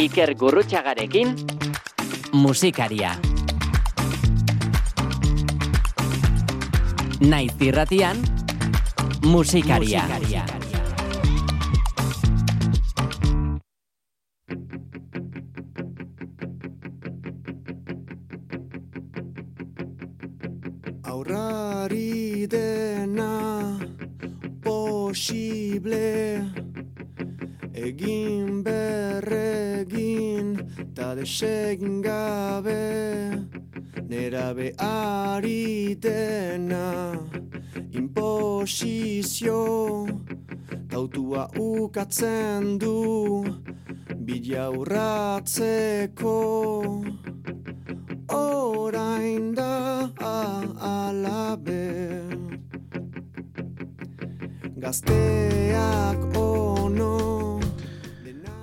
Iker Gurrutxagarekin musikaria. Naiz irratian musikaria. Aurrari dena posible Egin berregin ta desegin gabe Nera behari dena imposizio Tautua ukatzen du bilaurratzeko Orain da alabe Gazteak ono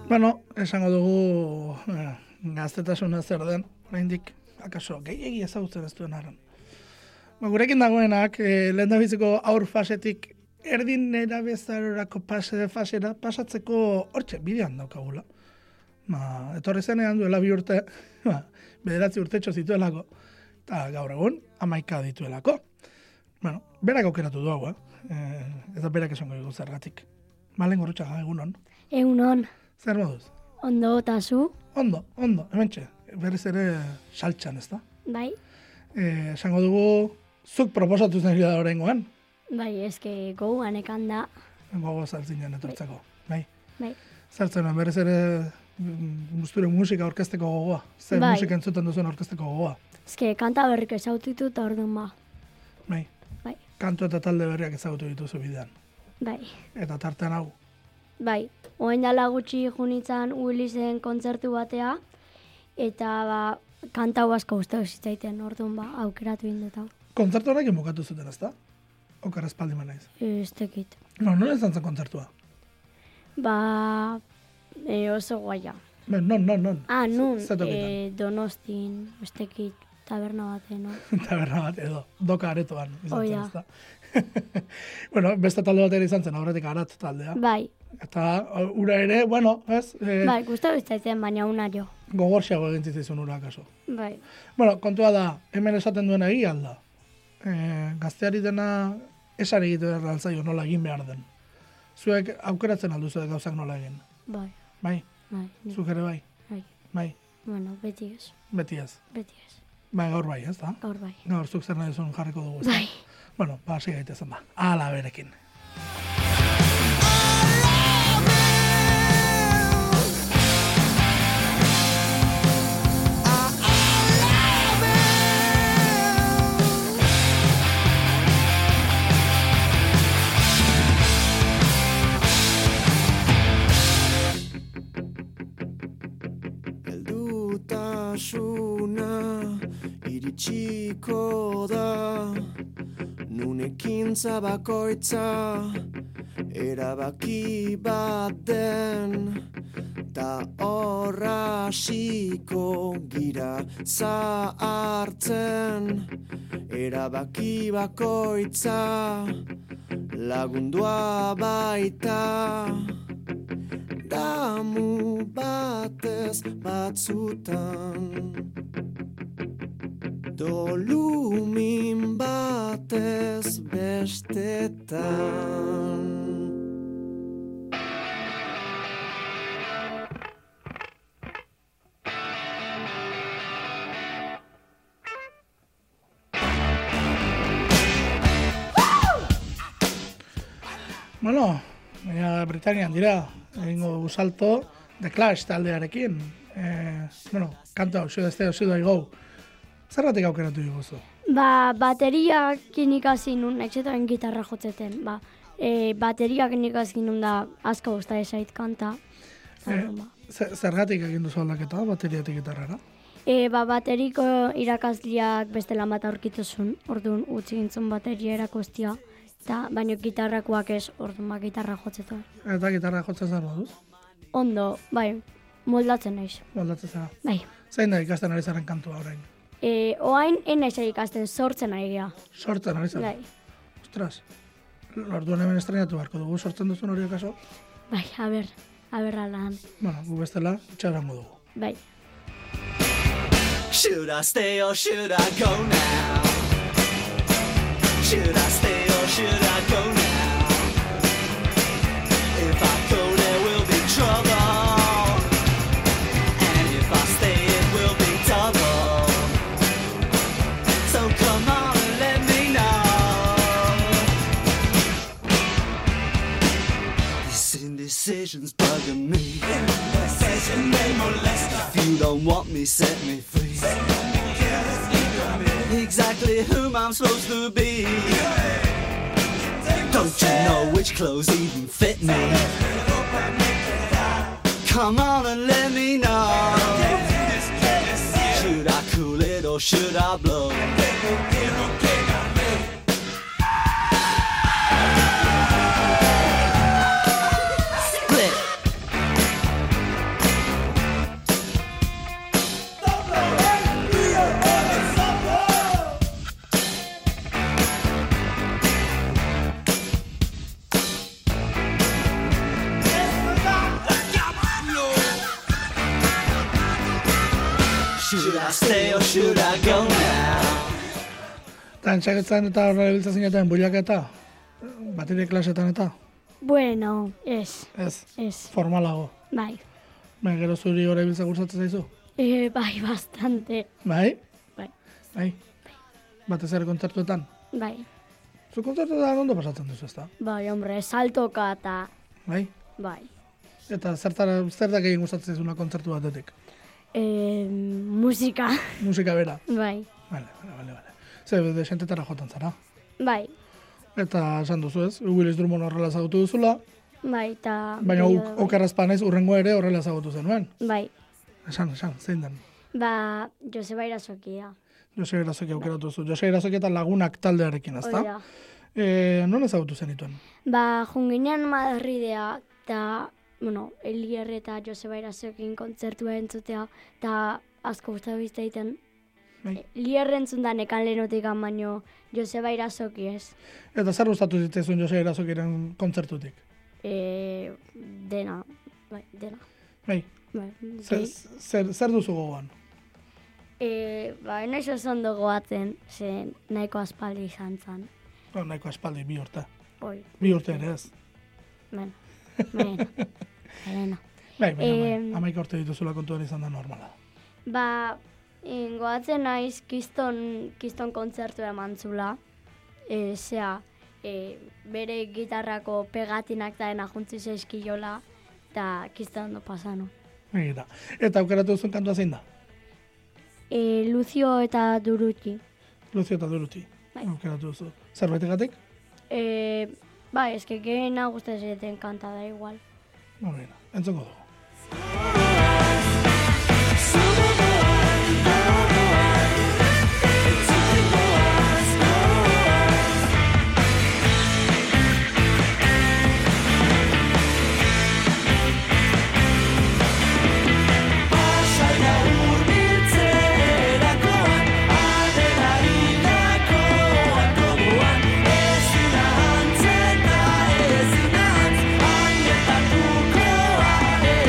Bueno, esango dugu eh, gaztetasuna zer den, oraindik akaso gehiegi ezagutzen ez duen arren. Ba, gurekin dagoenak, eh, lehen aur fasetik erdin nera bezarorako pase fasera pasatzeko hortxe bidean daukagula. Ba, etorri zenean duela bi urte, ba, bederatzi urtetxo zituelako, eta gaur egun amaika dituelako. Bueno, berak aukeratu du hau, eh? Eh, eta berak esango digu zergatik. Malen gorutxaga, egunon. Egunon, Zer moduz? ondo eta zu, Ondo, ondo, hemen txe, berriz ere saltxan, ez da? bai, Eh, esango dugu, zuk proposatu zen da horrengoan, bai, eske gauan ekan da, gogo saltzinen etortzeko, bai? bai, Saltzen, berriz ere mm, gusture musika orkesteko gogoa, zer Bai. musika entzuten duzuen orkesteko gogoa, eske kanta berrik ezautitu eta orduan ba, bai? bai, Kantu eta talde berriak ezagutu dituzu bidean. bai, Eta tartean hau, bai, oain dala gutxi junitzen Willisen kontzertu batea, eta ba, kanta hau asko guztu zitzaiten, orduan ba, aukeratu indut hau, kontzertu horrekin bukatu zuten, ez da? Okar espaldi naiz. ez tekit. No, nola izan zen kontzertua? Ba, e, oso guaia. Ben, non, non, non. Ah, nun, Zer tokitan? e, donostin, ez tekit, taberna baten, no? taberna bat edo, doka aretoan izan Hoi zen, da. ezta? bueno, beste talde bat ere izan zen, aurretik arat taldea. Bai, Eta o, ura ere, bueno, ez, e, bai, guztu zitzaiten, baina una jo. gogorxeago egin zitzaizun ura kaso. Bai, Bueno, kontua da, hemen esaten duena egia alda. E, gazteari dena esan egiten behar altzaio nola egin behar den. Zuek aukeratzen aldu zuek gauzak nola egin. bai, Bai, bai, ni- zuk ere bai, bai. bai, Bueno, beti ez, beti ez. beti ez, Bai, gaur bai, ez da? gaur bai. Gaur zuk zer nahi duzun jarriko dugu, ez da? Bai, Bueno, ba, hasi gaitezen ba. Ala berekin. Eldutasuna iritsiko da Nun ekintza bakoitza Erabaki bat den Ta horra hasiko gira zahartzen Erabaki bakoitza Lagundua baita damu batez batzutan Dolumin batez bestetan Bueno, baina Britanian dira, egingo dugu salto The Clash taldearekin. Eh, bueno, kanta hau, zuda este, zuda go. Zergatik aukeratu diguzu? ba, bateriak ikasi nun, etxetan gitarra jotzeten, ba, e, bateriak ikasi nun da asko guztu esait kanta. Eta Eh. orduan, ba. Zer- Zergatik egin duzu aldaketa, bateriatik gitarrara? E, ba, bateriko irakasliak beste lan bat aurkituzun, orduan utzi gintzun bateria erakustia, eta baino gitarrakoak ez, orduan ba, gitarra jotzetan. Eta gitarra jotzen zen moduz? Ondo, bai, moldatzen naiz, Moldatzen zara. bai. Zein da ikasten ari zaren kantua orain? E, oain, ena ikasten sortzen ari gara. Sortzen ari zara? Bai, Ostras, orduan hemen estrenatu beharko dugu sortzen duzun hori akaso? bai, a ber, aberra lan. Bueno, gu bestela, txarango dugu. Bai. Should I stay or should I go now? Should I stay or should I go now? If I go, there will be trouble. And if I stay, it will be double. So come on and let me know. These indecisions bugging me. If you don't want me, set me free. Exactly whom I'm supposed to be. Don't you know which clothes even fit me? Come on and let me know. Should I cool it or should I blow? Split. Should I stay or should I go now? Eta entxaketzen eta horra biltzen zineten buiak eta bateria klasetan eta, Bueno, ez, ez, ez, formalago. bai. Baina Ba, gero zuri horra biltzen gustatzen zaizu. E, bai, bastante, Bai? bai, Bai. Batez ere kontzertuetan. bai. Zu kontzertuetan ondo pasatzen duzu ezta? Bai, hombre, saltoka eta, Bai? bai. Eta zertara, zer da gehien gustatzen zaizuna kontzertu batetik? E, musika, Musika bera. bai, Bale, bale, bale, bale. Zer, de sentetara jotan zara. bai, Eta esan duzu ez, Willis Drummond horrela ezagutu duzula, bai, eta... baina bideo- ok- okarrazpa naiz urrengoa ere horrela ezagutu zenuen. Bai, Esan, esan, zein den. ba, Joseba Irazokia. Jose Grazoki aukeratu zu. Jose Grazoki eta lagunak taldearekin, Hori ezta? da. E, non ezagutu zenituen? Ba, junginean Madridea, eta, bueno, Elier eta Joseba Irazokin kontzertua entzutea, eta asko guztatu biztaiten. Eh. Bai. Lier entzun da nekan lehenotik baino Joseba Irazoki ez. Eta zer gustatu zitzaizun Jose Grazokiren kontzertutik? E, dena, bai, dena. Bai, Bai, zer, gehi. zer, zer duzu gogoan? E, ba, noiz oso ondo goatzen, ze nahiko aspaldi izan zen. Oh, nahiko aspaldi, bi urte. Oi, Bi urte ere ez. mena, mena, mena. Bai, baina, Em. bai, amaik urte dituzula kontuan izan da normala. Ba, in, goatzen naiz kiston, kiston kontzertu eman zula. E, zea, e, bere gitarrako pegatinak da ena juntzi zaizkiola, eta kiston ondo pasano. Bai, Eta, eta aukeratu duzun kantua zein da? E, Lucio eta Duruti. Luzio eta duruti. Bai. Aukeratu duzu. Zerbaitegatik? E, ba, eske gehiena guztetzen kanta da igual. Ba, bera, entzongo dugu. Ezin antz, ezin antz, han gertatukoa ere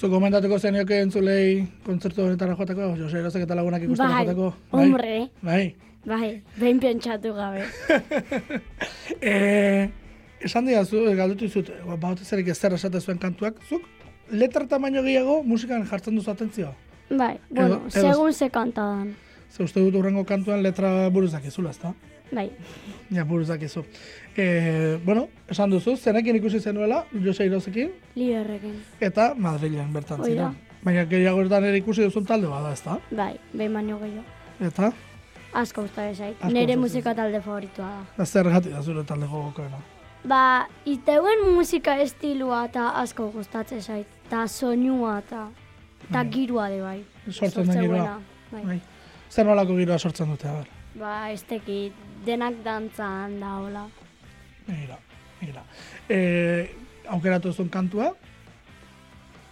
Zu komentatuko zenioke entzulei kontzertu honetara joateko, Jose Erozek eta lagunak ikustera Bai, joateko. hombre. Bai. Bai, behin pentsatu gabe. E, esan dira zu, eh, galdetu zut, baute zerik ezer esate zuen kantuak, zuk letra tamaino gehiago musikan jartzen duzu atentzioa. Bai, Edo- bueno, edo- segun ze kantadan. Ze uste dut urrengo kantuan letra buruzak ezula, ezta? Bai, Ja, buruzak ezu. E, bueno, esan duzu, zenekin ikusi zenuela, Jose Irozekin, liderrekin. eta Madrilen bertan Hoi da. ziren. Baina gehiago bertan ere ikusi duzun talde bada, ezta? Bai, behin baino gehiago. Eta, Asko gustatzen zait. Asko Nire gustatzen musika talde favoritua da. da zer gati da zure talde gogokoena. Ba, iteuen musika estilua eta asko gustatzen zait. Ta soinua eta ta girua de bai. Sortzen den giroa. Sortzeuena, Bai. Bai. Zer nolako giroa sortzen dute, a ber. Ba, ez tekit, denak dantzan da hola. Mira, mira. E, aukeratu zuen kantua,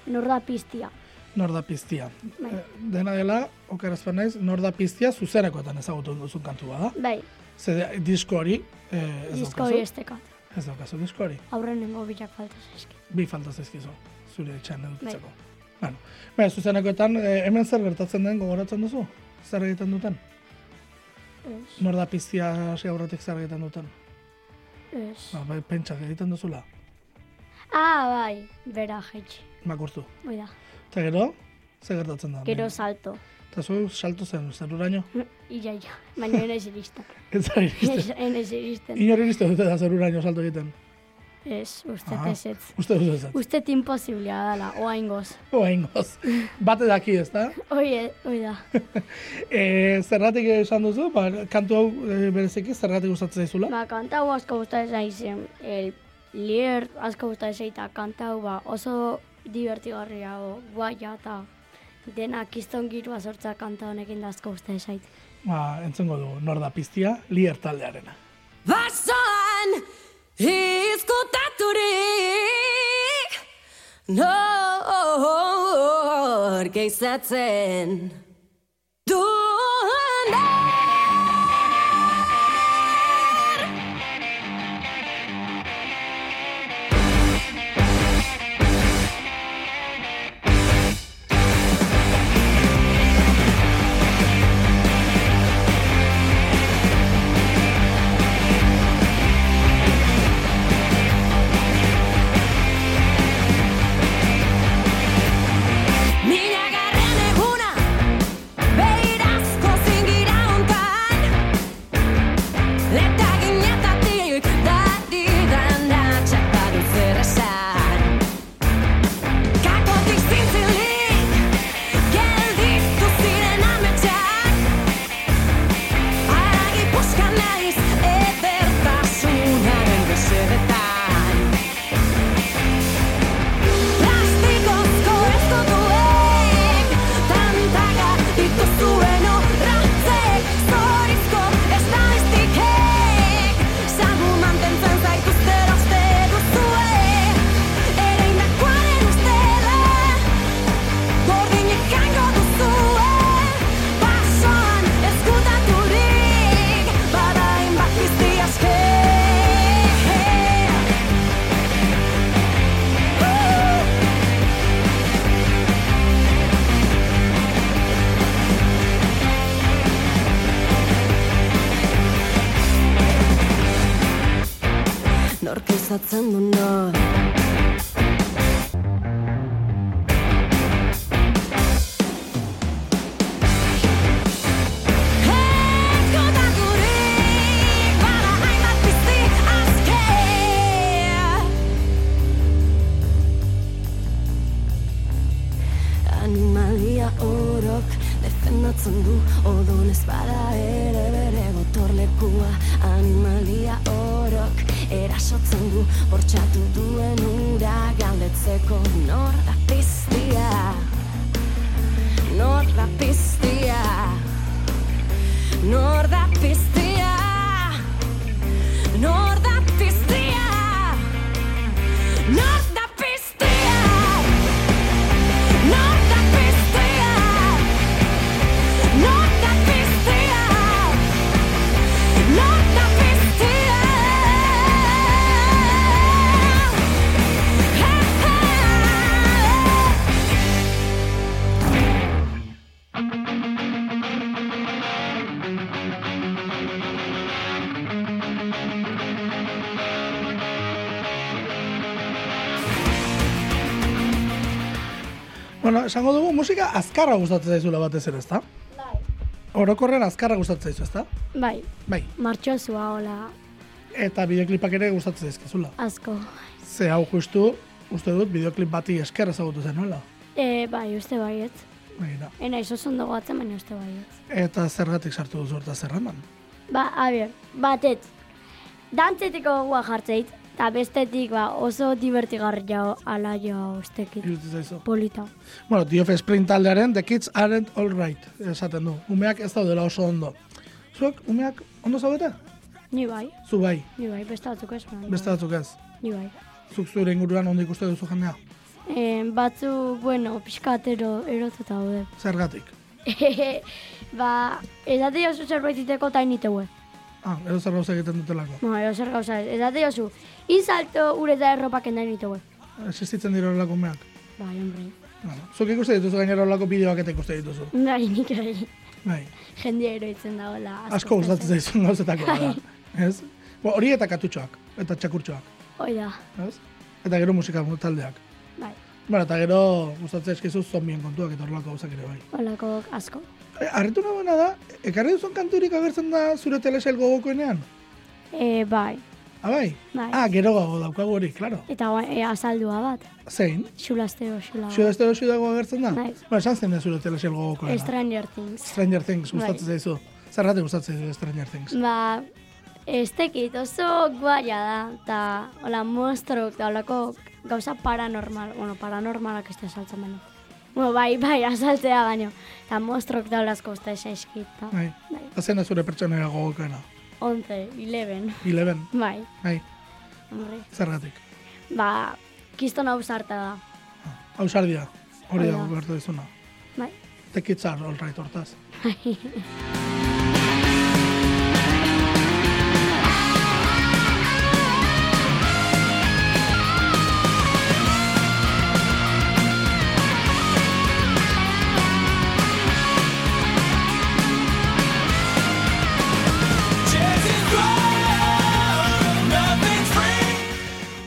Nor da piztia. Norda Piztia. Bai. E, dena dela, okerazpen naiz, Norda Piztia zuzenekoetan ezagutu duzun kantua da. Bai, Ze disko hori, e, ez disko daukazu. hori ez tekat. Ez daukazu disko hori. Aurren nengo bilak falta zaizki. Bi falta zaizkizu, zure etxean Bai. edukitzeko. Bueno, baina zuzenekoetan, e, hemen zer gertatzen den gogoratzen duzu? Zer egiten duten? Ez, Norda Piztia hasi aurretik zer egiten duten? ez. Ba, bai, pentsa egiten duzula, Ah, bai, bera jetxi. makurtu. Hoi da, Eta gero, zer gertatzen da? gero salto. Eta zu saltu zen, zeruraino? Ia, ia, baina ene ziristen. Ez da iristen. Ene ziristen. Inor iriste dute da zeruraino salto egiten. Ez, uste Ah. ez ez. Uste dut ez. Uste imposiblia dala, oain goz. Oa ingoz. Bate daki ez da. Hoi, e- hoi da. E, zerratik esan duzu, ba, kantu hau e, bereziki zerratik gustatzen zaizula. Ba, kantau asko gustatzen zaizen, el lier asko gustatzen zaita kantau, ba, oso divertigarriago, guaia eta dena kiston girua sortza kanta honekin da asko gustatzen zait. Ba, entzengo du, norda piztia, lier taldearena. Basoan izkutaturik Nor geizatzen Duan Mila garren eguna Beirazko zingira hontan Leta ginetatik Dati dan datxak badu zer esan Kakotik zintzilik Gelditu ziren ametsak Aragi puska naiz Edertasunaren besedetan Plastikozko estotuek Tantaga dituzuen horratzek Zorizko estadistikek Sagu mantentzen zaituztera uste duzue Ere indakoaren ustela Gordinek hango duzue Basoan ezkutaturik Badain bat izti aske Nork izatzen du nor Ezkutaturik Bada hainbat pizti aske Animalia orok defendatzen du Odon ez bada ere bere gotorlekua Animalia orok erasotzen du Bortxatu duen ura galdetzeko Nor da piztia Nor da piztia Nor da piztia Nor da piztia Nor da piztia Not that piztia Not that piztia Not that piztia Hey, hey Bueno, esango dugu musika azkarra gustatzen zaizula batez ere, ezta? Bai. Orokorren azkarra gustatzen zaizu, ezta? Bai, Bai. martxoazua hola Eta bideoklipak ere gustatzen zaizkizula. asko. Ze hau justu, uste dut, bideoklip bati esker ezagutu zenuela. E, bai, uste baietz. Begira. Ena izo zondo goatzen, baina uste baietz. Eta zergatik sartu duzu horta zerraman. Ba, abier, batet, dantzetiko gogua jartzeit, eta bestetik ba, oso divertigarria ala joa ustekit. Irutu zaizu. Polita. Bueno, The Offspring taldearen The Kids Aren't All Right esaten du. Umeak ez daudela oso ondo. Zuek, umeak ondo zaudete? Ni bai, Zu bai, ni bai, beste batzuk ez. baina ni beste batzuk ez. bai, Ni bai. Zuk zure inguruan ondo ikuste duzu jendea. E, batzu, bueno, pixkatero erotuta daude. Zergatik. ba, ez dati oso zerbait iteko eta Bai, initeue. Ah, edo zer gauza egiten dutelako. Bueno, edo zer gauza ez. Ez dati oso, izalto ureta erropak endain niteue. Existitzen dira horrelako umeak. Bai, hombre. Bueno, Zuk ikuste dituzu gainera horrelako bideoak eta ikuste dituzu. Bai, nik bai. Bai, Jendia eroitzen dagoela. asko gustatzen zaizun gauzetako bat da. Ez? Bo, hori eta katutxoak, eta txakurtxoak. Hoi da, Ez? Eta gero musika taldeak. bai. Bueno, eta gero gustatzen eskizu zombien kontuak eta horrelako gauzak ere bai. Olako asko. Arritu nagoena da, ekarri duzun kanturik agertzen da zure telesail gogokoenean? E, bai. Abai? Bai. Ah, gero gago daukagu hori, klaro. Eta oa- e, azaldua bat. Zein? Xulastero, xula. Zio ez dago agertzen da? Ah. Bai. Ba, esan zen da zure telesail gogokoena. Stranger Things. Stranger Things gustatzen Bai. zaizu. Zerratik gustatzen zaizu Stranger Things. Ba, ez tekit oso guaia da. Eta, hola, monstruok da, olako gauza paranormal. Bueno, paranormalak ez da saltzen baino. Bueno, bai, bai, azaltzea baino. Eta monstruok da olazko uste saiskit. Ta. Bai. Eta zen da zure pertsonera gogokoena. 11, 11. Eleven. Bai, Bai. hombre. Zerratik. Ba, kiston hau sarta da. Ausardia. Hori Hori dago da. bertu dizuna. Bai. The kids are all right hortaz.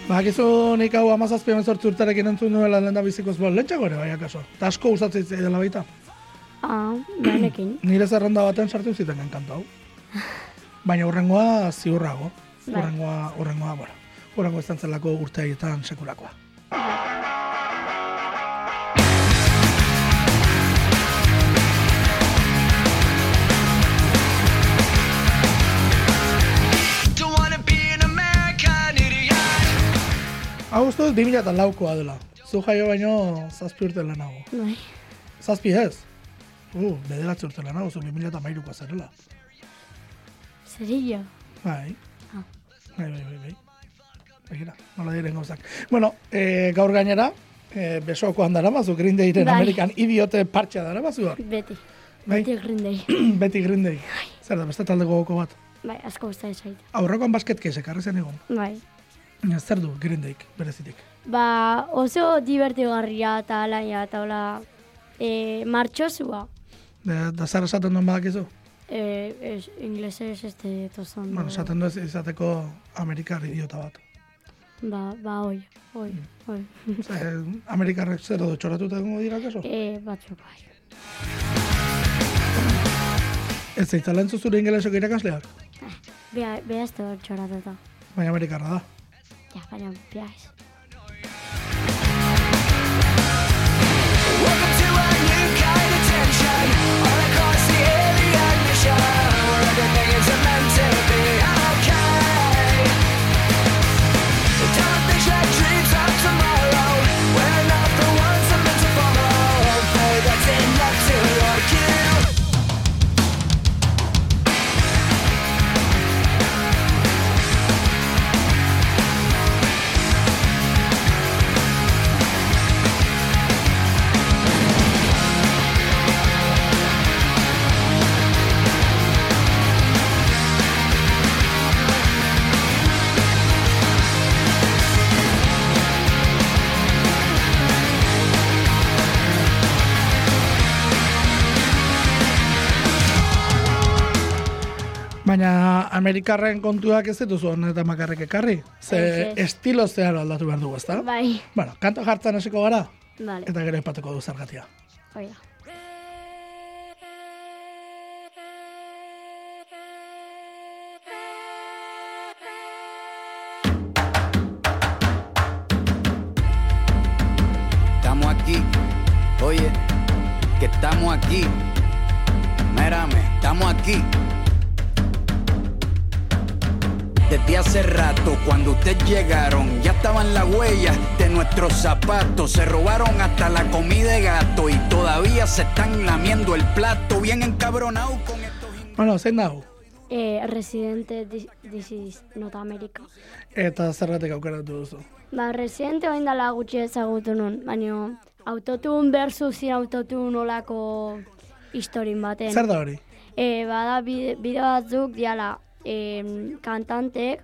Bakizu nik hau amazazpi emezortzi urtarekin entzun nuela lehen da bizikoz bol, lentxako ere bai akaso. Ta asko gustatzen dela baita. Ah, benekin. Nire zerrenda baten sartu ziten kanta hau. Baina hurrengoa ziurrago. Bai. Hurrengoa, hurrengoa, bueno. Hurrengoa izan zelako urte haietan sekulakoa. Don't wanna be an American idiot. Hau uste dut 2004koa dela. Zu jaio baino zazpi urte lehenago. Bai. Zazpi ez? Uh, bederatzi urte lehenago, zu 2008koa zerela. Zerillo. Bai. Ah. Bai, bai, bai, bai. Begira, nola diren gauzak. Bueno, eh, gaur gainera, eh, besokoan dara bazu, Green Dayren Bai. Amerikan idiote partxea dara bazu hor. Beti. Bai. Beti Green Day. Beti Green Day. Zer da, beste talde gogoko bat. Bai, asko gustatzen zait. Aurrakoan basketkez ekarri zen egon. Bai. Baina Zer du Green Dayk, berezitik. Ba, oso divertigarria eta alaia eta hola e, martxosua. Da, da zer esaten duen badakizu? E, es, inglesez ez dut oso ondo. Bueno, esaten du ez izateko Amerikar idiota bat. Ba, ba, oi, oi, Mm. oi. Ze, Amerikarrek zer edo txoratuta egongo dira kaso? e, batzuk bai. Ez zeitzala entzu zure ingelesok irakasleak? Ah, Bea, bea ez dut txoratuta. Baina Amerikarra da. Ja, baina, bea ez. Welcome to a new kind of tension. All across the alien mission, where everything is meant to be okay. Television dreams of tomorrow. We're not the ones that meant to follow. Play that's enough to argue. Baina Amerikarren kontuak ez dituzu honetan makarrek ekarri. Ze Ez, ez. estilo zeharo aldatu behar dugu, ezta? Bai, Bueno, kanto jartzen hasiko gara. Bale, Eta gero aipatuko du zergatia. hoi da. Estamos aquí, oye, que estamos aquí. Mérame, estamos aquí. Desde hace rato, cuando ustedes llegaron, ya estaban las huellas de nuestros zapatos. Se robaron hasta la comida de gato y todavía se están lamiendo el plato. Bien encabronado con estos. Bueno, zein da hau? E, Residente Dis- This is Not America. Eta zergatik aukeratu duzu. Ba, Residente oin dala gutxi ezagutu nun, baina autotun versus zin autotun olako historin baten. Zer da hori? E, bada bide, bideo batzuk diala em, kantantek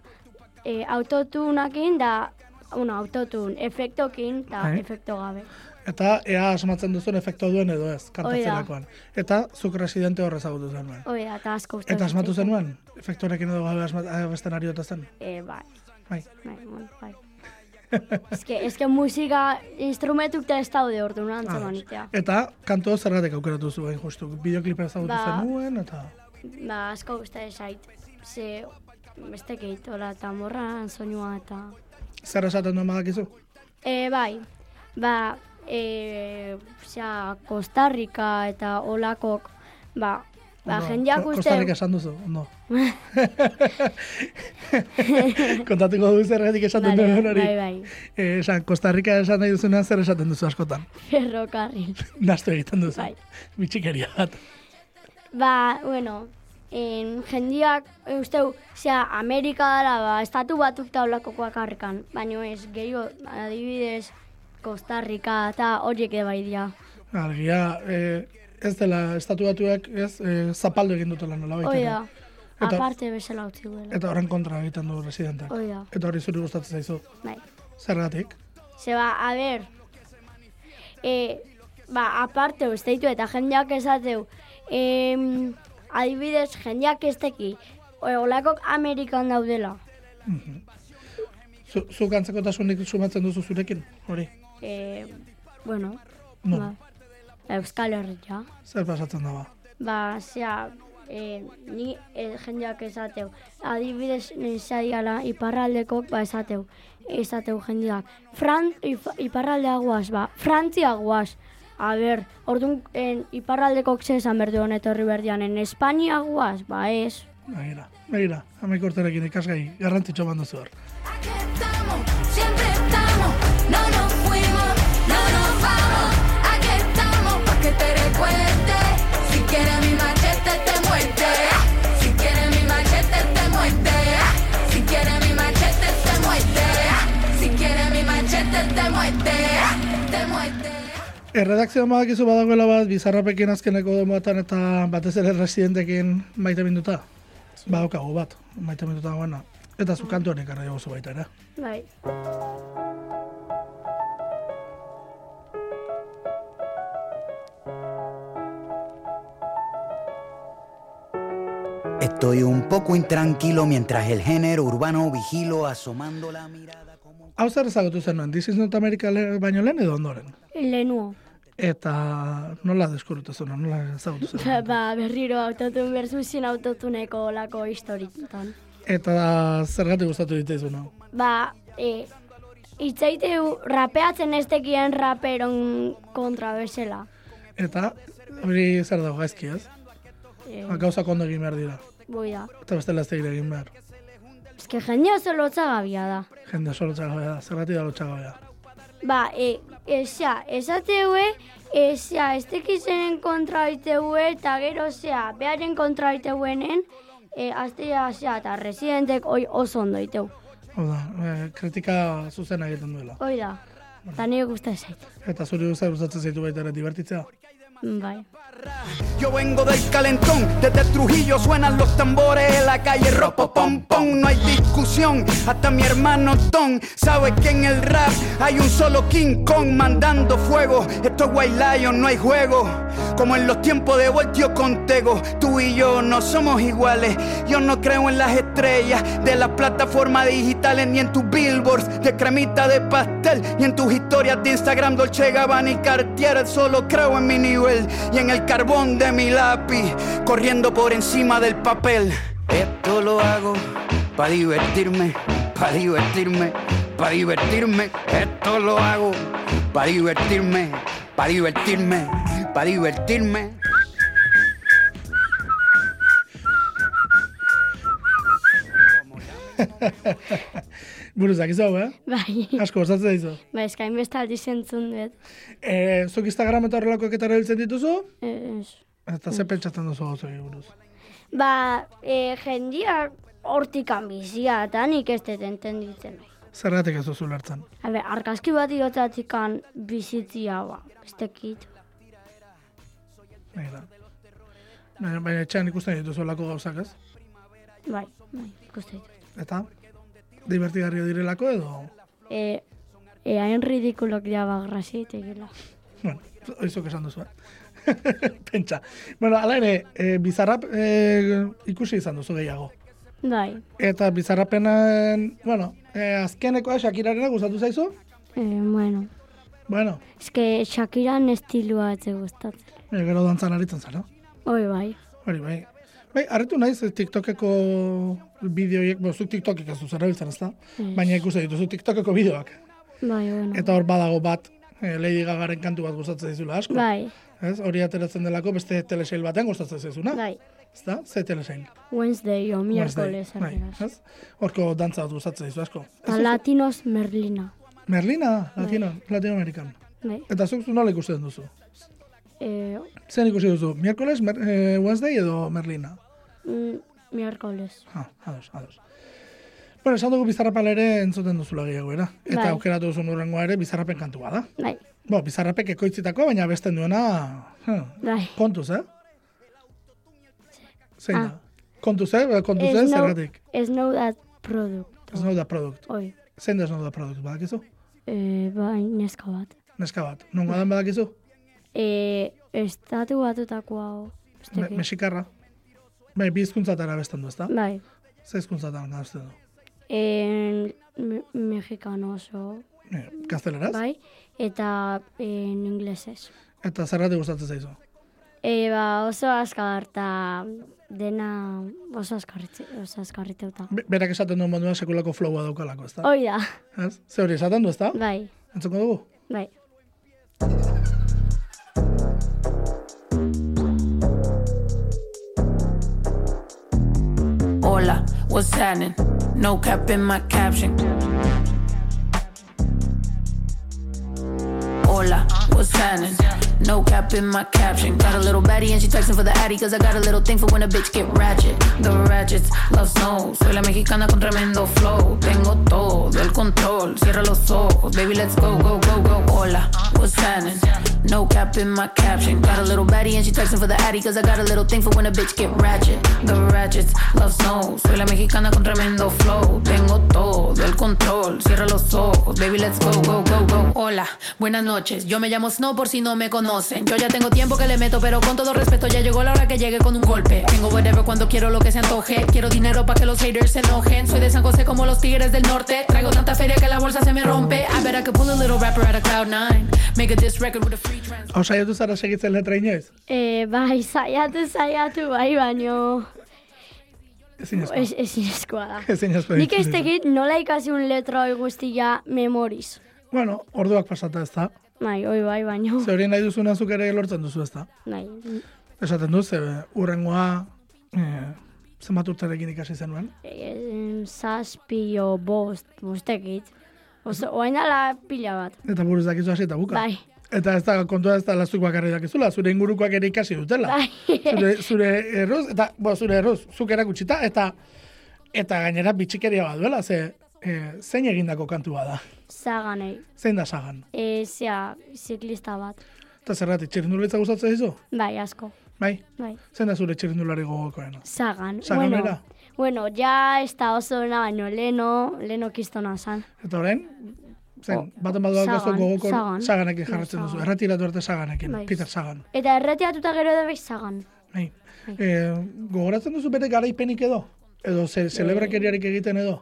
e, autotunakin da una, autotun efektokin eta Bai. efekto gabe. Eta ea asmatzen duzun efektua duen edo ez, Hoi kantatzerakoan. Eta zuk residente horre ezagutu zenuen. Hoi da, eta asko uste. Eta asmatu zitzaidan. zenuen, efektorekin edo gabe asmat- abesten ari ote zen. E, bai, Bai. bai, bueno, bai. eske, eske musika instrumentuk eta ez daude orduan Bai. antzemanitea. Ah, Eta kantu hau zergatik aukeratu zuen justu. Bideoklipa ezagutu Ba. zenuen eta... Ba, asko uste zait. Ze, beste keitola eta morran, soinua eta... Zer esaten duen badakizu? E, bai, ba, e, osea, Costa Rica eta olakok, ba, ba, Ondo, jendeak Ko- uste... Kostarrika esan duzu, ondo. Kontatuko du zergatik esaten Bale, duen hori. bai, bai. Eh, esan, Kostarrika esan nahi duzunean zer esaten duzu askotan. ferrokarril. Nastu egiten duzu. Bai. Bitxikeria bat. Ba, bueno, en, jendiak, uste, osea, Amerika dara, ba, estatu batuk eta olakokoak harrikan, baino ez, gehiago, adibidez, Costa Rica eta horiek ere bai dira. Argia, eh, ez dela estatuatuak, ez, eh, zapaldu egin dutela nola baita. Hoi da, Eta- aparte bezala utzi duela. Eta horren kontra egiten du residentak. Hoi da, Eta hori zuri gustatzen zaizu. bai. Zergatik? Ze ba, a ber, e, ba, aparte usteitu eta jendeak esateu, em, adibidez, jendeak ez teki, e, olakok Amerikan daudela. Zu, zuk antzekotasunik sumatzen duzu zurekin, hori. E, bueno, No. ba, Euskal Herria. Zer pasatzen da ba. Ba, zea, e, ni e, jendeak esateu, adibidez, nizadiala iparraldekok, ba, esateu, esateu jendeak. Fran, if, iparraldea guaz, ba, Frantzia guaz. A ber, orduan, en, iparraldekok ze esan berdu honetorri berdianen, Espania guaz, ba, ez. Begira, begira, hamaik urterekin ikasgai, garrantzitxo manduzu hor. Aquí estamos, siempre estamos, no nos fuimos, no nos vamos. Aquí estamos, pa' que te recuerde. Si quieres mi machete, te muerte. Si quieres mi machete, te muerte. Si quieres mi machete, te muerte. Si quieres mi machete, te muerte. Te muerte. Erredakzioan Eh, badakizu badagoela bat, bizarrapekin azkeneko demoetan eta batez ere residentekin maite minduta. Badaukagu bat, maite minduta dagoena. Eta zu kantu honek arra diguzu baita, ere. Bai, Estoy un poco intranquilo mientras el género urbano vigilo asomando la mirada como. Hau zer ezagutu zenuen, This is not America le- baino lehen edo ondoren. lehenua. Eta nola deskurutu zenuen, nola ezagutu zenuen. Ba, berriro autotun berzuzin autotuneko lako historitan. Eta zergatik gustatu diteizun hau. ba, e, itzaiteu rapeatzen ez tekien raperon kontra bezala. Eta hori zer dago gaizki ez? E, Gauza kondo egin behar dira. boi da. Eta bestela ez dira egin behar. Ez que jendea oso lotzagabia da. Jende solo txagabea da, zergatik da txagabea. Ba, e, ezea, esateue, ezea, ez tekizenen kontra iteue, eta gero zea, beharen kontra iteuenen, e, aztea zea, eta residentek oi oso ondo iteu. Hau da, eh, kritika zuzena egiten duela. Hoi da, eta nire guztia zait. Eta zuri guztia gustatzen zaitu baita ere divertitzea. Mm, Bai. Yo vengo del calentón, desde Trujillo suenan los tambores en la calle ropo pom pom, no hay discusión, hasta mi hermano Tom sabe que en el rap hay un solo King Kong mandando fuego, esto es White Lion, no hay juego, Como en los tiempos de Voltio Contego, tú y yo no somos iguales. Yo no creo en las estrellas de las plataformas digitales, ni en tus billboards de cremita de pastel, ni en tus historias de Instagram, Dolce Gabbana y Cartier. Solo creo en mi nivel y en el carbón de mi lápiz, corriendo por encima del papel. Esto lo hago para divertirme, para divertirme, para divertirme. Esto lo hago para divertirme, para divertirme, para divertirme. Buruzak izau, eh? Bai, Asko gozatzen dizu. ba, eskain beste aldiz entzun dut. E, zuk Instagram eta horrelako eketara heltzen dituzu, Ez. eta ze pentsatzen duzu gauzoi buruz. Ba, e, jendia hortikan bizia, eta nik ez dut entenditzen. nahi. Zergatik ez duzu lertzen. Habe, argazki bat iotatikan bizitzia, ba, ez dakit. Nahi da. Baina, baina etxean ikusten dituzu lako gauzak ez? Bai, bai, ikusten dut. Eta? Divertigarria direlako edo? E, e, hain ridikulok dira ba, grazia itegila. Bueno, oizok esan duzu, eh? Pentsa. Bueno, ala ere, e, bizarrap e, ikusi izan duzu gehiago. Bai, Eta bizarrapenan, bueno, e, azkenekoa Shakirarena gustatu zaizu? e, bueno. Bueno, Ez que Shakiran estilua ez zait gustatzen. e, gero dantzan aritzen zara. Hoi bai. Hori bai. Bai, harritu naiz eh, TikTokeko bideoiek, bo, zuk TikTokik ez duzera biltzen, ez da? Ez. Baina ikusi dituzu TikTokeko bideoak. Bai, bueno. Eta hor badago bat, eh, Lady Gagaren kantu bat gustatzen zaizula asko. Bai, Ez? Hori ateratzen delako beste telesail batean gustatzen zaizuna. bai. Ez da? Ze telesail? Wednesday o miércoles, Wednesday. Bai, arregaz. ez? Horko dantza bat gustatzen zaizu asko. Ta latinos Merlina. Merlina, da, Latino, Latinoamerikan. Bai. Eta zuk zu nola ikusten duzu? E, Zer ikusi duzu? Miércoles, mer, eh, Wednesday edo Merlina? mm, miércoles. Ah, ados, ados. Bueno, esan dugu bizarrapal ere entzuten duzula gehiago, era? Eta Bai. aukeratu duzun urrengoa ere bizarrapen kantua da. Bai, Bo, bizarrapek ekoitzitakoa, baina besten duena... huh, bai. Kontuz, eh? Zein Ah. da? Kontuz, eh? Kontuz, eh? Zergatik. Snow that product. Snow da produkt. Oi, Zein da snow da produkt, badakizu? e, bai, neska bat. Neska bat. Nongo adan badakizu? E, estatu batutako hau. ez Me dakit. Mexikarra. Bai, bi hizkuntzatara besten du, ezta? Bai. Ze hizkuntzatan gazten du? En, me, mexikano oso. Eh, Gazteleraz? Bai. Eta en inglesez. Eta zergatik gustatzen zaizu? E, ba, oso azkar eta dena oso azkarritze, oso azkarriteuta. Be- Berak esaten duen moduan sekulako flowa daukalako, ezta? Hoi da, Ez? Ze hori esaten du, ezta? bai, Entzuko dugu? bai. Hola, what's happening? No cap in my caption. Hola, what's happening? No cap in my caption. Got a little baddie and she texting for the addy. Cause I got a little thing for when a bitch get ratchet. The ratchets love snow. Soy la mexicana con tremendo flow. Tengo todo el control. Cierra los ojos. Baby, let's go, go, go, go. Hola, what's happening? No cap in my caption. Got a little baddie and she texting for the addy. Cause I got a little thing for when a bitch get ratchet. The ratchets love snow. Soy la mexicana con tremendo flow. Tengo todo el control. Cierra los ojos. Baby, let's go, go, go, go. Hola, buenas noches. Yo me llamo Snow por si no me conocen. Yo ya tengo tiempo que le meto, pero con todo respeto ya llegó la hora que llegue con un golpe. Tengo whatever cuando quiero lo que se antoje. Quiero dinero para que los haters se enojen. Soy de San José como los tigres del norte. Traigo tanta feria que la bolsa se me rompe. I bet I could pull a little rapper out of cloud nine. Make a diss record with a free trans. Hau saiatu zara segitzen letra inoiz? E, bai, saiatu, saiatu, bai, baino Ezin ezko. ez, ezinezkoa da. Ezin ezko. Nik ez tekit nola ikasi un letra hoi guztia memoriz. Bueno, orduak pasata ez da. Bai, oi bai, baino. Ze hori nahi duzuna zuk ere lortzen duzu ez da. Bai, Esaten du, ze urrengoa eh, zenbat urtarekin ikasi zenuen. e, zazpi o bost, bostekit. Oso, oain dala pila bat. Eta buruz dakizu hasi eta buka. Bai. Eta ez da kontua ez da lazuk bakarri dakizula, zure ingurukoak ere ikasi dutela. Bai. Zure, zure erruz, eta, bo, zure erruz, zuk erakutsita, eta eta gainera bitxikeria bat duela, ze eh, zein egindako kantua da, Zaganei. zein da sagan. E, zea, ziklista bat. Eta zergatik, txirindularitza gustatzen dizu? Bai, asko. Bai, Bai. zein da zure txirindulari gogokoena? Zagan. Zaganera? Bueno, bueno, ja ez da oso ona, baino leno, leno kistona zan. Eta orain, Zen, Oh. bat bat bat Sagan, gogoko Sagan. saganekin Ja, jarratzen duzu. Sagan. Erretiratu arte saganekin, Bai. Peter Sagan. Eta erretiratuta gero edo bez zagan. Bai. Bai. Eh, gogoratzen duzu bere garaipenik edo? Edo ze, zelebrakeriarik egiten edo?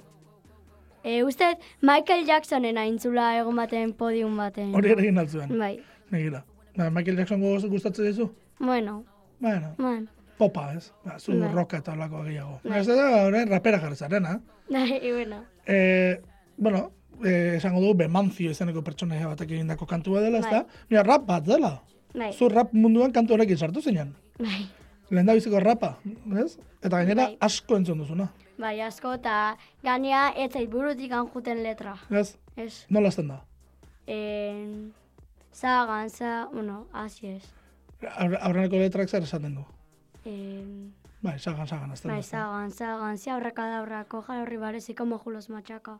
E, uste, dut Michael Jacksonen aintzula egon baten podium baten. Hori ere egin altzuen, Bai. negila. Ba, Michael Jackson gogoz gustatzen dizu? Bueno, Bueno, man. popa, ez? Ba, zu Mm. Bai. roka eta olako gehiago. Bai. Ez da, orain rapera jarri zaren, ha? Bai, bueno. Eh, bueno, eh, esango dugu Bemanzio izeneko pertsonaia batek egindako kantua dela, ez da? Mira, rap bat dela. Bai. Zu rap munduan kantu horrekin sartu zinen. Bai. Lehen rapa, ez? Eta gainera Bai. asko entzun duzuna, Bai, asko eta ganea ez zait burutik juten letra. ez? Ez. Nola azten da? En... Zagan, za... Bueno, hasi ez. Aur- Aurreneko letrak zer esaten du? En... Bai, sagan, sagan, azten Bai, da. zagan, zagan, zi aurreka da aurrako, jaro ribarez ikomo julos matxaka.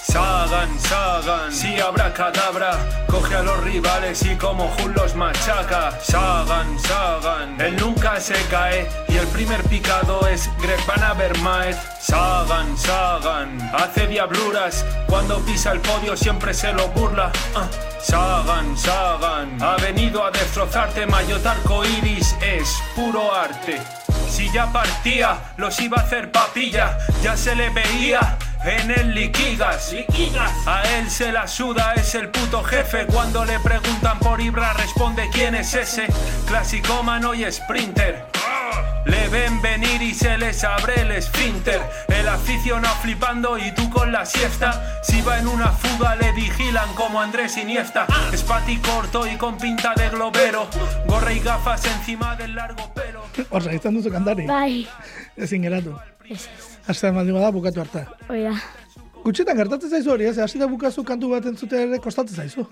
Sagan, Sagan, si abracadabra, coge a los rivales y como Jun los machaca. Sagan, Sagan, él nunca se cae y el primer picado es Greg Van Avermaet. Sagan, Sagan, hace diabluras, cuando pisa el podio siempre se lo burla. Ah, Sagan, Sagan, ha venido a destrozarte, mayotarco iris es puro arte. Si ya partía, los iba a hacer papilla, ya se le veía en el liquigas. A él se la suda, es el puto jefe. Cuando le preguntan por Ibra, responde quién es ese. Clasicómano y sprinter. Le ven venir y se les abre el esfínter. El aficionado flipando y tú con la siesta. Si va en una fuga le vigilan como Andrés Iniesta. Es pati corto y con pinta de globero. Gorra y gafas encima del largo pelo. Horra, izan duzu kantari, Bai, ezin geratu. ez ez. Azten baldin bada bukatu arte. Oida. Gutxetan gertatzen zaizu hori, ez? Hasi da bukazu kantu bat entzute ere kostatzen zaizu.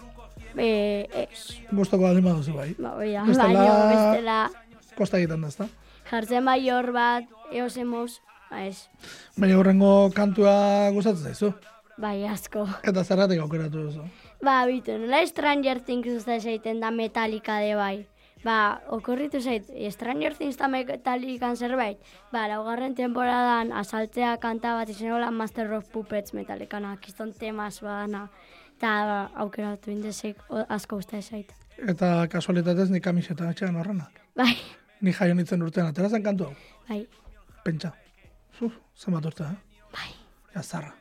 E, e, Gustoko baldin baduzu bai. ba, oida. Bestela- Baina, bestela, Kosta egiten da, ezta? jartzen bai hor bat, eos emoz, ba ez. Baina horrengo kantua gustatzen zaizu. Bai, asko. Eta zerratik aukeratu duzu. Ba, bitu, nola Stranger Things uste zaiten da metalika de bai. Ba, okorritu zait, Stranger Things da metalikan zerbait. Ba, laugarren temporadan asaltzea kanta bat izan hola Master of Puppets metalikana, kiston temaz badana. Eta ba, aukeratu indesek o- asko uste zait. Eta kasualitatez ni kamiseta etxean horrena. Bai, Ni jaio nintzen urtean, atera zen kantu hau. bai, Pentsa. Zuf, zenbat urte, eh? bai, Ja, zarra.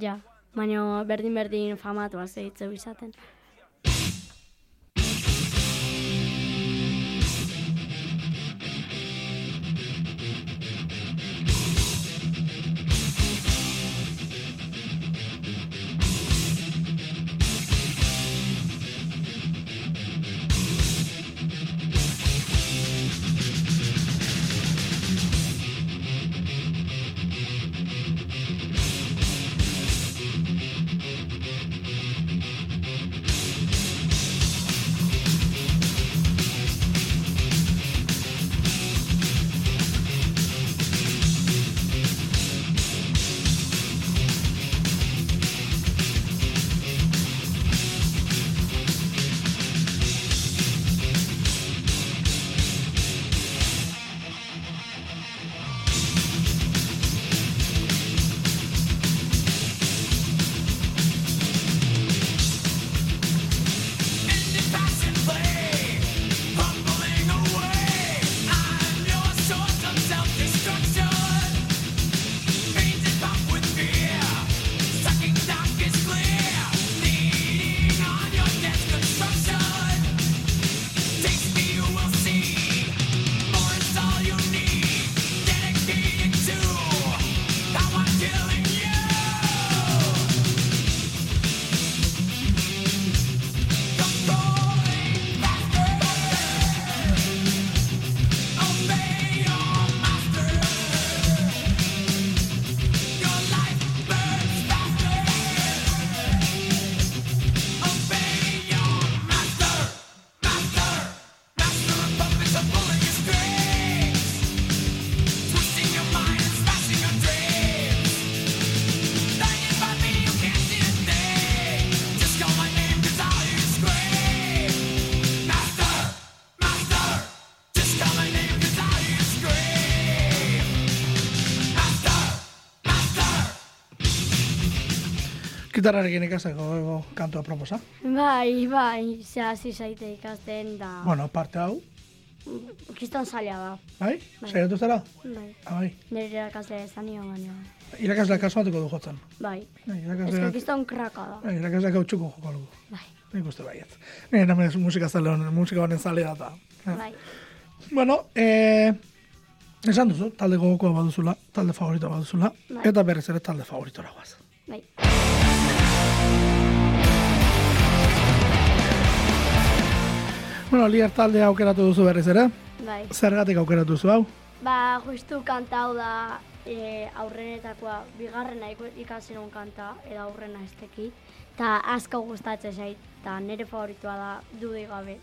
ja. Baina berdin-berdin famatu azeitzeu izaten. Sagan, Gitarrarekin ikasako kantua proposa. Bai, bai, zea hasi zaite ikasten da. Bueno, parte hau, Kriston zaila da. bai? Bai. Saiatu zara? Bai. Ah, bai. Nire irakaslea izan nion baina. Irakasleak kasu batuko du jotzen. Bai. Bai, Ez Irakasleak, que kriston kraka da. bai, irakasleak hau txukun joko lugu. Bai, Nik uste baiet. Nire namen ez musika zale honen, musika honen zalea da. bai. Bueno, eh, esan duzu, talde gogokoa baduzula, talde favoritoa baduzula, Bai. eta berriz ere talde favoritora guaz. Bai. Bueno, liar talde aukeratu duzu berriz ere, Bai. zergatik aukeratu duzu hau? Ba, justu kanta hau da e, aurrenetakoa, bigarrena iku- ikasi nuen kanta, eta aurrena ez teki. Ta asko gustatzen zait, eta nire favoritua da dudik gabe.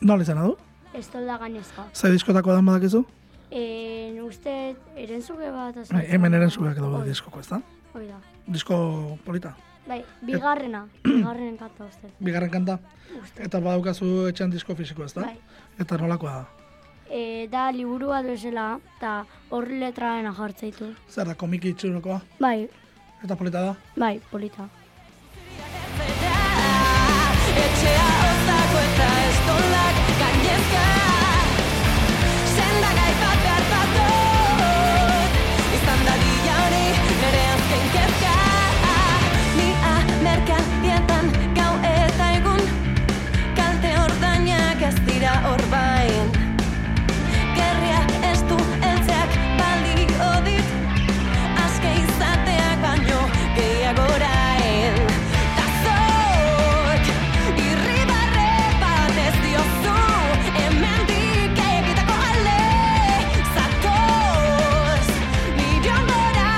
Nola izan du? Ez da gainezka. Zai diskotako dan badakizu? E, uste, erenzuke bat azaltzen Bai, hemen da. eren zubeak daude Hoi- diskoko, ezta? hoi da. Disko polita, Bai, bigarrena, Eh. bigarrenen kanta uste. bigarren kanta, eta badaukazu etxean disko fisiko, ezta? Bai. Eta nolakoa da? E, da liburu bat bezala, eta horri letraena jartzen ditu. Zer da, komiki itxurokoa, Bai, eta polita da? bai, polita. Etxea oztako eta estolak gainezka Senda gai bat behar bat dut Izan dadila hori nere azken kezka Ni amerkaldietan gau eta egun Kalte ordainak ez dira orbain Gerria ez du heltzeak balio dit Aske izateak baino gehiago orain Ta zok irribarre bat ez diozu Hemendik egitako ale Zatoz nire ondora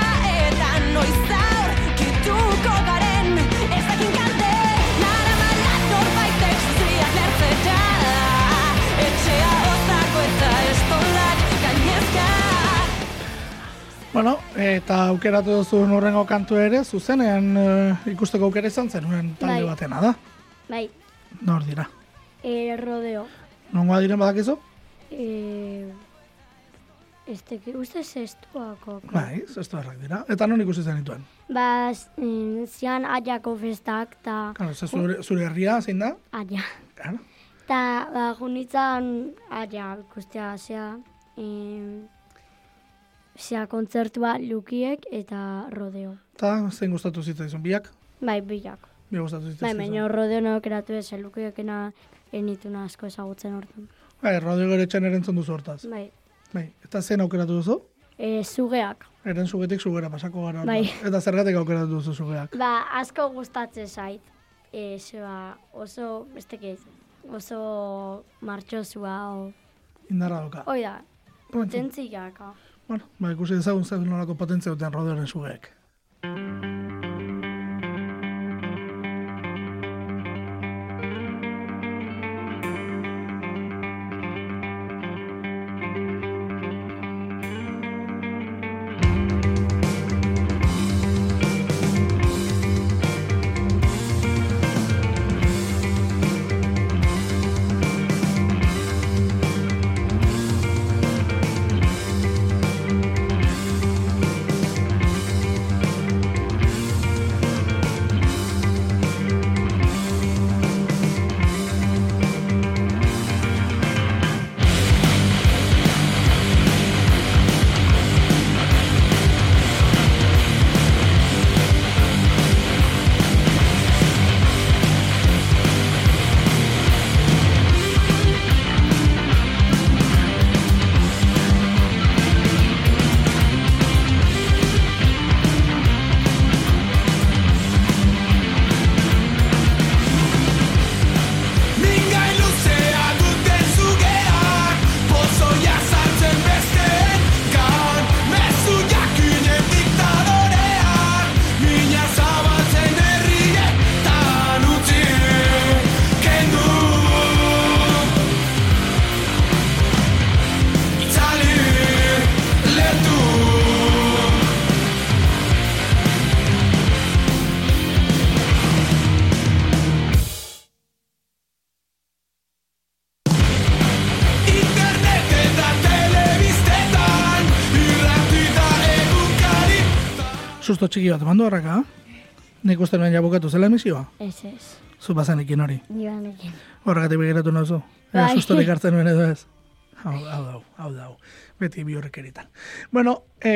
eta noiz aurkituko garen Ez dakin kalte Naramala norbaitek zuziak lertzera Etxea oztako eta estolak gainezka Bueno, eta aukeratu duzu nurrengo kantu ere, zuzenean eh, ikusteko aukera izan zen, nuen talde Bai. batena da. Bai, Nor dira. e, rodeo. Nongoa diren badakizu? E, ez teki, uste zestuako. Bai, zestu errak dira. Eta non ikusi zenituen? Ba, z- mm, zian aiako festak, eta Claro, ze zure, zure herria zein da? aia. Claro. Eta, ba, junitzen aia ikustea, zea, em, zea kontzertua lukiek eta rodeo. Eta zein gustatu zitzaizun biak? Bai, bilak. Bi gustatu Bai, zitzaizun. baina rodeo nago keratu ez, lukiekena enituna asko ezagutzen hortan. Bai, Rodrigo ere etxan erentzun duzu hortaz. Bai, Bai, eta zein aukeratu duzu? e, zugeak. Eren zugetik zugera pasako gara. Bai. Eta zergatik aukeratu duzu zugeak? Ba, asko gustatzen zait. E, zeba, oso, ez dakit, oso martxosua, o... Indarra doka. Hoi da, ah. potentziaka. Bueno, ba, ikusi dezagun zer nolako potentzia duten rodeoren zugeek. Mingai luzea duten zugeak Pozoia sartzen besteen gaur Mezu jakinen diktadoreak Mina zabaltzen herrietan utzi Kendu Itzali Letu Internet eta telebistetan Irratita egunkari Susto txiki bat, mandu horreka. Nik uste nuen ja bukatu zela emisioa. Ez ez. Zu bazanekin hori. Joan ekin. Horregatik begiratu nauzu. Ea Bai. sustorik hartzen nuen edo ez. Hau, hau dau, hau dau. Beti bi horrekeritan. Bueno, e,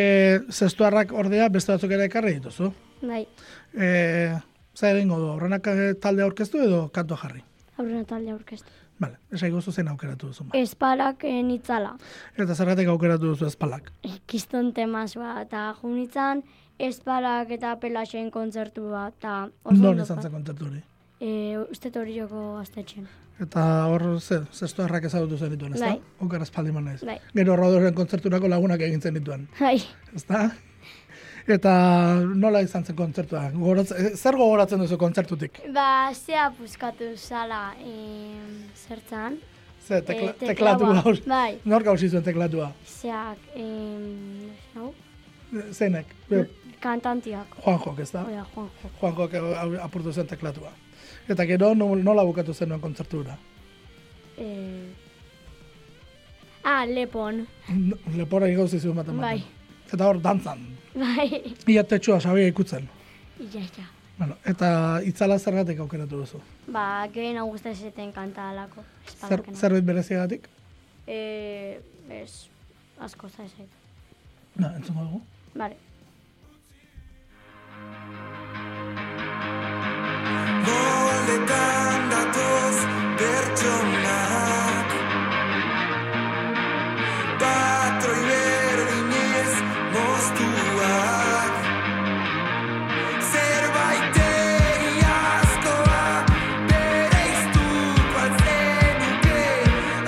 zestuarrak ordea beste batzuk ere ekarri dituzu. Bai, E, Zer egingo du, horrenak talde aurkeztu edo kantua jarri? aurrena talde aurkeztu. Bale, esai gozu zen aukeratu duzu. ba. Esparak eh, nitzala. Eta zergatik aukeratu duzu espalak. Eh, Kiston temaz bat, eta junitzan, esparak eta pelaxen kontzertu bat, eta Non izan zen kontzertu hori? E, uste dut hori joko gaztetxen. Eta hor, ze, zestuarrak ezagutu zen dituen, ez da? Bai. Oker espaldi manez. Bai. Gero rodoren kontzerturako lagunak egin zen dituen, Bai, ez da? Eta nola izan zen kontzertua? Gogoratze- eh, zer gogoratzen duzu kontzertutik? ba, zea puskatu zala, em, zertzan. Ze, tekla, Eh, teklaua. teklatua hor. Bai. Nork hausi zuen teklatua? Zeak, em, no? Zeinek? Hmm? Be- kantantiak. Juanjok, ez da? Oia, Juanjo. Juanjok hau- hau apurtu zen teklatua. Eta gero no- nola bukatu zenuen kontzertura? Eh, ah, lepon. Lepora igauzi zuen bat ematen. Bai. Eta hor, dantzan. Bai, Ia tetxua sabia ikutzen. ja, ja. Bueno, eta itzala zergatik aukeratu duzu? Ba, gehien augusta zeten kanta alako. Zer, zerbait bereziagatik? Eh, ez, asko zaizait. Na, entzungo dugu. Bale. Noletan datoz pertsonak Patroi berdinez moztuak Zerbait egiazkoa Bere iztuko atzenuke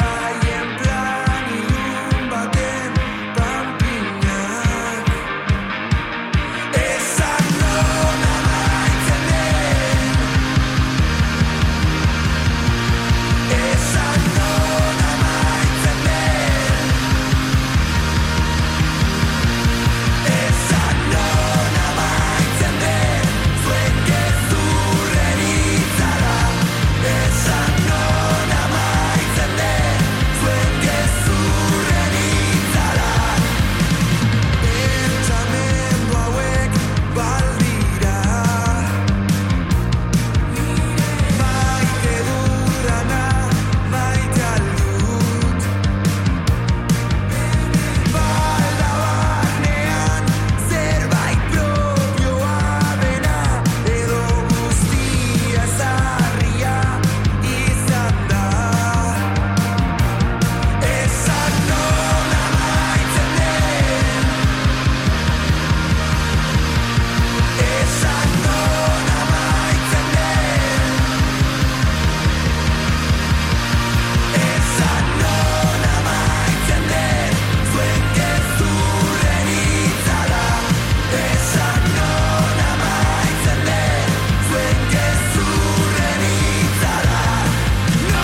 Haien plan ilun baten pampinak Ezan nona naitzen den Esan non amaitzen den Esan non amaitzen den Zuen gezurren itzala Esan non amaitzen den Zuen gezurren itzala Pentsamendu hauek baldira Maite dudana maite aldut Balda barnean zerbait propioa dena Edo guztia zarria izan da Ezan non amaitzen den Ezan non amaitzen den Ezan non amaitzen den Zuen gezurren itzala Ezan non amaitzen den Zuen gezurren itzala Non Non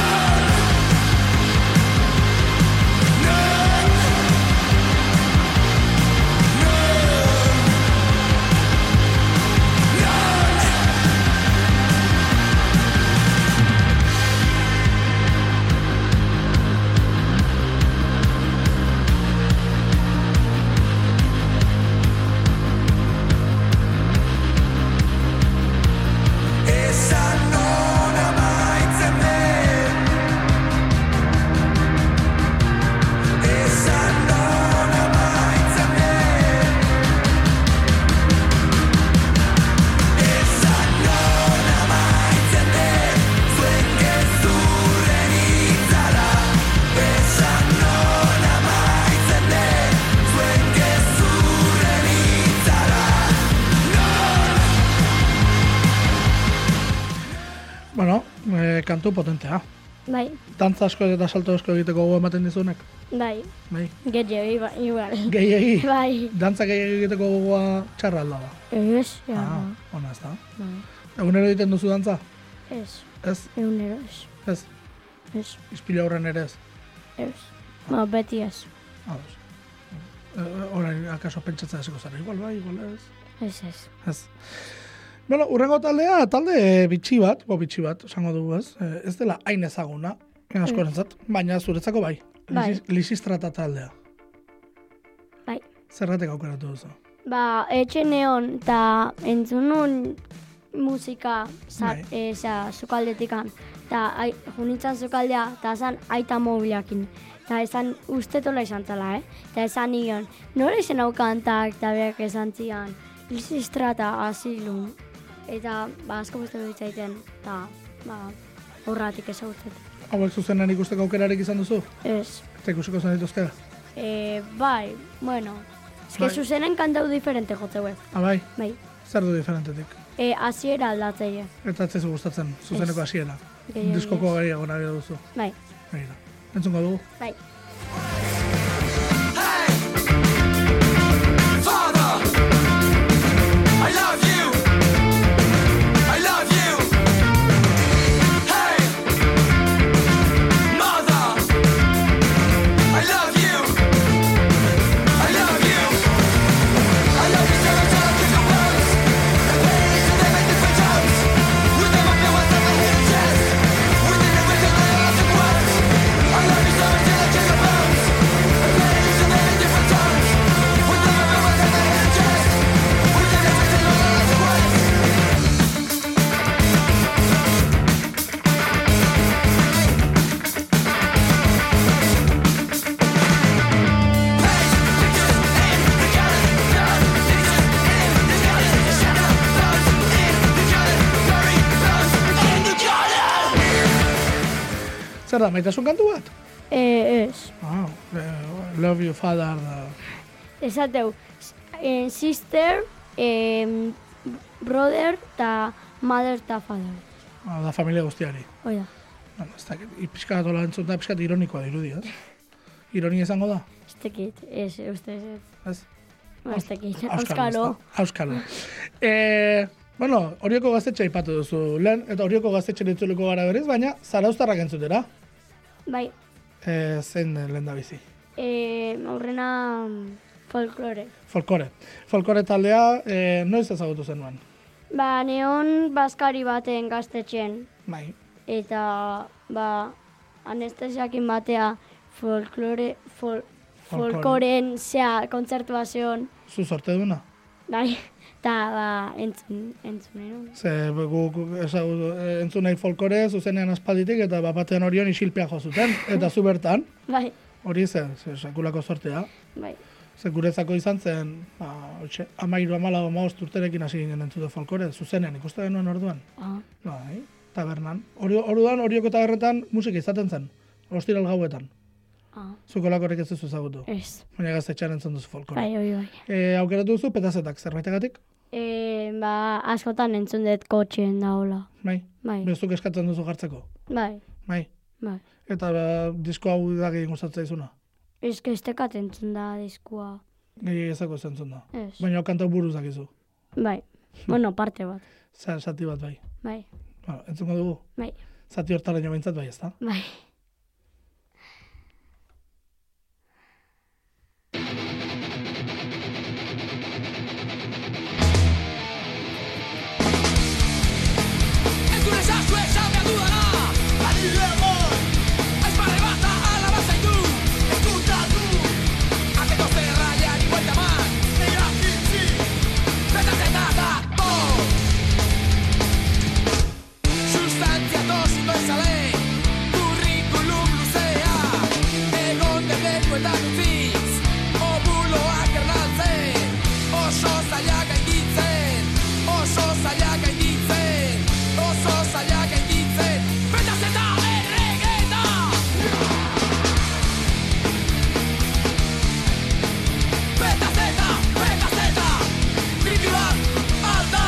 Non Non Esan non amaitzen den Esan non amaitzen den Esan non amaitzen den Zuen gezurren itzala Esan non amaitzen den Zuen gezurren itzala Bueno, e, kantu potentea. Bai, Dantza asko eta salto asko egiteko gogo ematen dizunek. bai, Bai. gehiago, iba- igual. Gehiegi. Bai, Dantza gehiegi egiteko gogoa txarra alda da. ez, ja, Ah, ona ez da. bai. Egunero egiten duzu dantza? ez, Ez, egunero, ez, ez. ez, Ispila horren ere ez. ez. Ba, beti ez, Ados. E, orain, akaso pentsatzen hasiko zara. Igual bai, igual ez. ez, ez. Ez. Bueno, urrengo taldea, talde eh, bitxi bat, bo bitxi bat, esango dugu ez, Eh, ez dela hain ezaguna, eh, askorentzat, baina zuretzako bai. Mm. Bai. Lisi- Lisistrata taldea. Bai. Zerratek aukeratu duzu. Ba, etxe neon, eta entzun nun musika za, Bai. e, za, sukaldetikan. Ta, ai, junitzen sukaldea, eta zan aita mobilakin. Eta esan ustetola izan zala, eh? Eta esan nion, nore izan hau kantak, eta beak esan zian, Lisistra eta azilu. Eta, ba, asko beste dut zaiten, eta, ba, horratik ezagutzen. Hauek zuzenan ikusteko aukerarek izan duzu? Ez, Eta ikusiko zen dituzkera. e, bai, bueno, ez que Bai. zuzenen kantau diferente jotzeuek, Abai, bai. Ah, zer du diferentetik? E, aziera aldatzeie, Eta ez zaizu gustatzen, zuzeneko Ez. hasiera. Gehiegi Diskoko gehiago nahi duzu. bai, Begira. Entzungo dugu. bai. Father, I love you. I love you. Hey, mother, I love you. I love you. I love you till I die. Kick the words, the pages and they make different tones. With them I feel myself a hidden chest. Within every color I lost in words. I love you till I die. Kick the words, the pages and they make different tones. With them I feel myself a hidden chest. Within every color I lost in words. Zer da, maitasun kantu bat? E, ez, Ah, eh, love you father da. esateu, e, sister, e, brother, eta mother, eta father. Ah, da familia guztiari. Hoi da, Bueno, ez dakit, i- pixka bat hola entzun da, pixka bat ironikoa dirudi, ez? Ironia izango da, ez tekit, ez, uste ez, ez, ez? Ba, ez tekit, Auskalo. auskalo. ezta? Auskalo. Eh, bueno, horioko gaztetxe aipatu duzu lehen, eta horioko gaztetxe ditzuliko gara berez, baina zarauztarrak entzutera, Bai, eh, zein lehen da bizi. e, aurrena folklore. Folkore. Folkore taldea, eh, noiz ezagutu zenuen? Ba, neon bazkari baten gaztetxen, Bai, eta ba, anestesiakin batea folklore, fol, Folklore. folkoren zea kontzertua zeon, zu sorte duna. bai, eta ba, entzun, entzun enon. Ze guk ezagutu, eh, entzun nahi folkore, zuzenean aspalditik, eta bat batean orion isilpea jo zuten, eta zu bertan, Bai, hori zen, ze sakulako sortea. bai, Ze guretzako izan zen, ba, hoxe, amairu amala omaost urterekin hasi ginen entzute folkore, zuzenean, ikusten genuen orduan. ah, Bai, tabernan. Hori, orduan, horioko tabernetan musika izaten zen, ostiral gauetan. ah, Zukolakorek ez duzu ezagutu. ez, Baina gaztetxean entzun duzu folkore. Eh. bai, bai, bai. E, aukeratu duzu petazetak, zerbaitegatik? E, ba, askotan entzun dut kotxeen da hola, Bai. bai, Bezuk eskatzen duzu jartzeko. bai, Bai. bai. Eta ba, disko hau da gehien gustatzen izuna. Ez que estekat entzun da diskua, Gehien ezako zentzun da. ez, Baina hau kanta buruz dakizu. bai, bueno, parte bat, Zer, zati bat bai. bai, Bueno, entzungo dugu. bai, Zati hortara nio behintzat bai, ezta? bai. Entzun ezazu esan behar dudana Ari lemon Aizpare bata alaba zaitu Entzutatu Akeko zerraiari buelta man Nira kitzi Beta zeta da Bo Sustantzia dosi bezale Kurrikulum luzea Egon debleku eta gutziz Obuloak ernaltzen Oso zailak gainditzen Oso zailak gainditzen Oso zailak gainditzen Beta zeta erregeta Beta zeta, beta zeta Tripi bat alda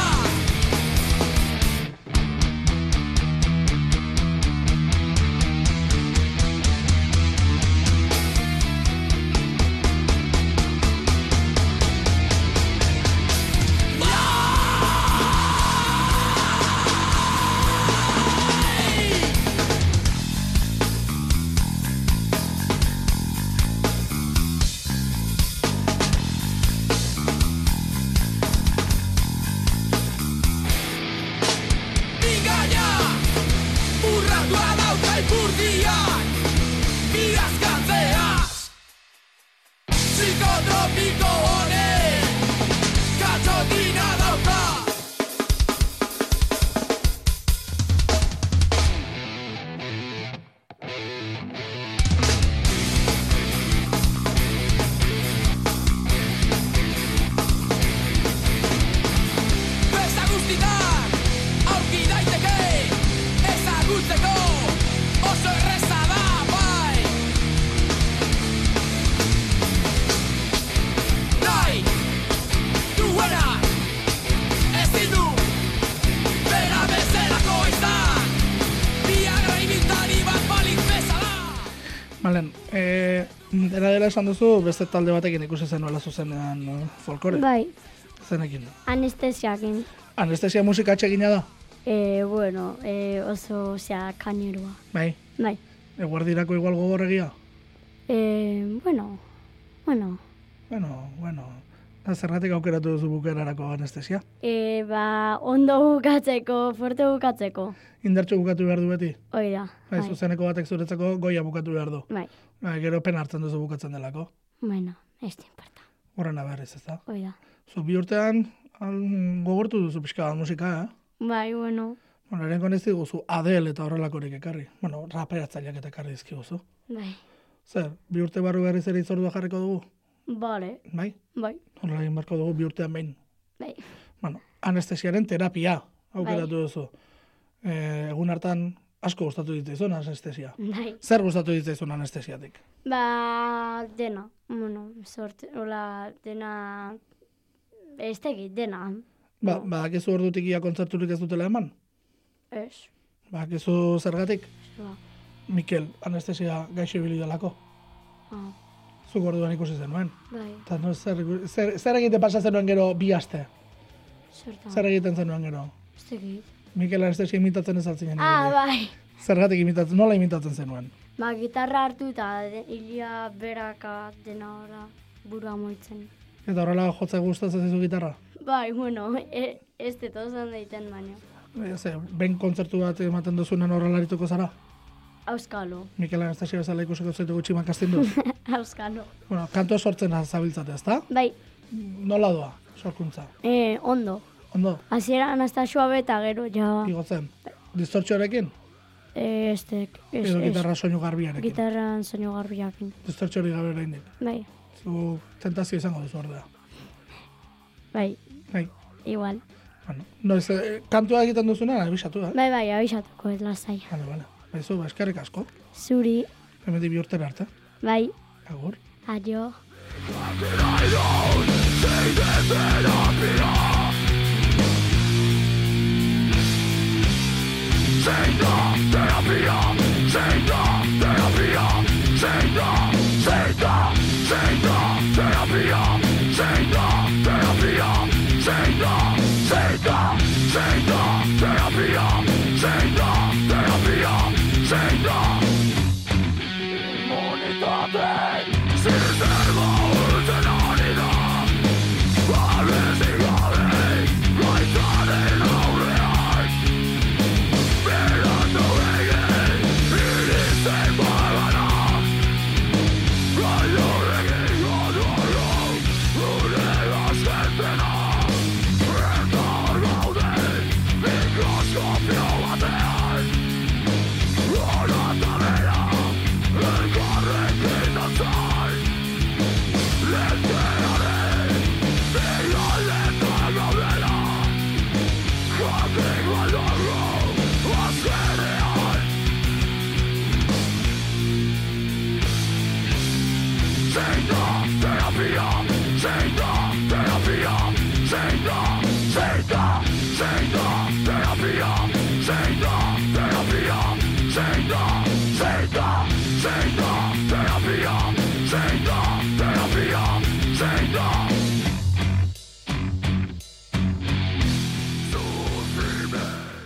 bai. E, dena dela esan duzu, beste talde batekin ikusi zenuela zuzenean no? folkore. Bai, Zenekin. anestesiakin. Anestesia musika atsegina da? E, bueno, e, oso, osea, kanerua. Bai. Bai. Eguerdirako igual gogorregia? E, bueno, bueno. Bueno, bueno. Da zergatik aukeratu duzu bukerarako anestesia. E, ba, ondo bukatzeko, fuerte bukatzeko. Indartxo bukatu behar du beti. Hoi da. Bai, zuzeneko batek zuretzako goia bukatu behar du. bai. Bai, gero pena hartzen duzu bukatzen delako. Bueno, ez da importa. Horren aberriz, ez da? Hoi da. Zu bi urtean al- gogortu duzu pixka bat musika, eh? Bai, bueno, Bueno, erenko ez diguzu Adel eta horrelakorik ekarri. Bueno, raperatzaileak eta ekarri dizkiguzu. bai. Zer, bi urte barru berriz ere itzordua jarriko dugu, Bale, bai? bai, Horrela egin barko dugu bi urtean behin. bai. Bueno, anestesiaren terapia aukeratu Bai. duzu. Eh, egun hartan asko gustatu ditzaizun anestesia. Bai. Zer gustatu ditzaizun anestesiatik? Ba, dena. Bueno, sorte, hola, dena... Ez tegit, dena. Ba, badakizu ordutik ia kontzerturik ez dutela eman? Ez. Badakizu zergatik? Ba, Mikel, anestesia gaixo ibili delako. ah, Zuk orduan ikusi zenuen. bai, Eta no, zer, iku- zer, zer egiten pasa zenuen gero bi aste? sorta. Zer egiten zenuen gero? Ez tegit. Mikel anestesia imitatzen ez altzinen. Ah, ibili. bai. Zergatik imitatzen, nola imitatzen zenuen? Ba, gitarra hartu eta de- ilia beraka dena ora burua moitzen. Eta horrela jotza gustatzen zaizu gitarra? Bai, bueno, e, ez dut osan daiten baina. E, Ze, ben kontzertu bat ematen duzunen horrela arituko zara? Auskalo, Mikel Anastasia bezala ikusiko zaitu gutxi makasten du. auskalo. bueno, kantua sortzen zabiltzate, ezta? Bai, Nola doa, sorkuntza? e, ondo. Ondo, Hasiera anastasua beta gero, ja, igotzen. Distortxoarekin? e, ez tek, ez, Edo ez. gitarra soinu garbiarekin? Gitarran soinu garbiakin. Distortxori gabe oraindik. Bai, Zu tentazio izango duzu ordea. bai, Bai. igual. Bueno, noiz, eh, kantua egiten duzuna, abisatu, eh? Bai, bai, abisatuko ez lasai. Bale, bale. Baizu, ba, eskerrik asko. Zuri, Hemendik bi urtera arte. bai, Agur. adio. Therapy on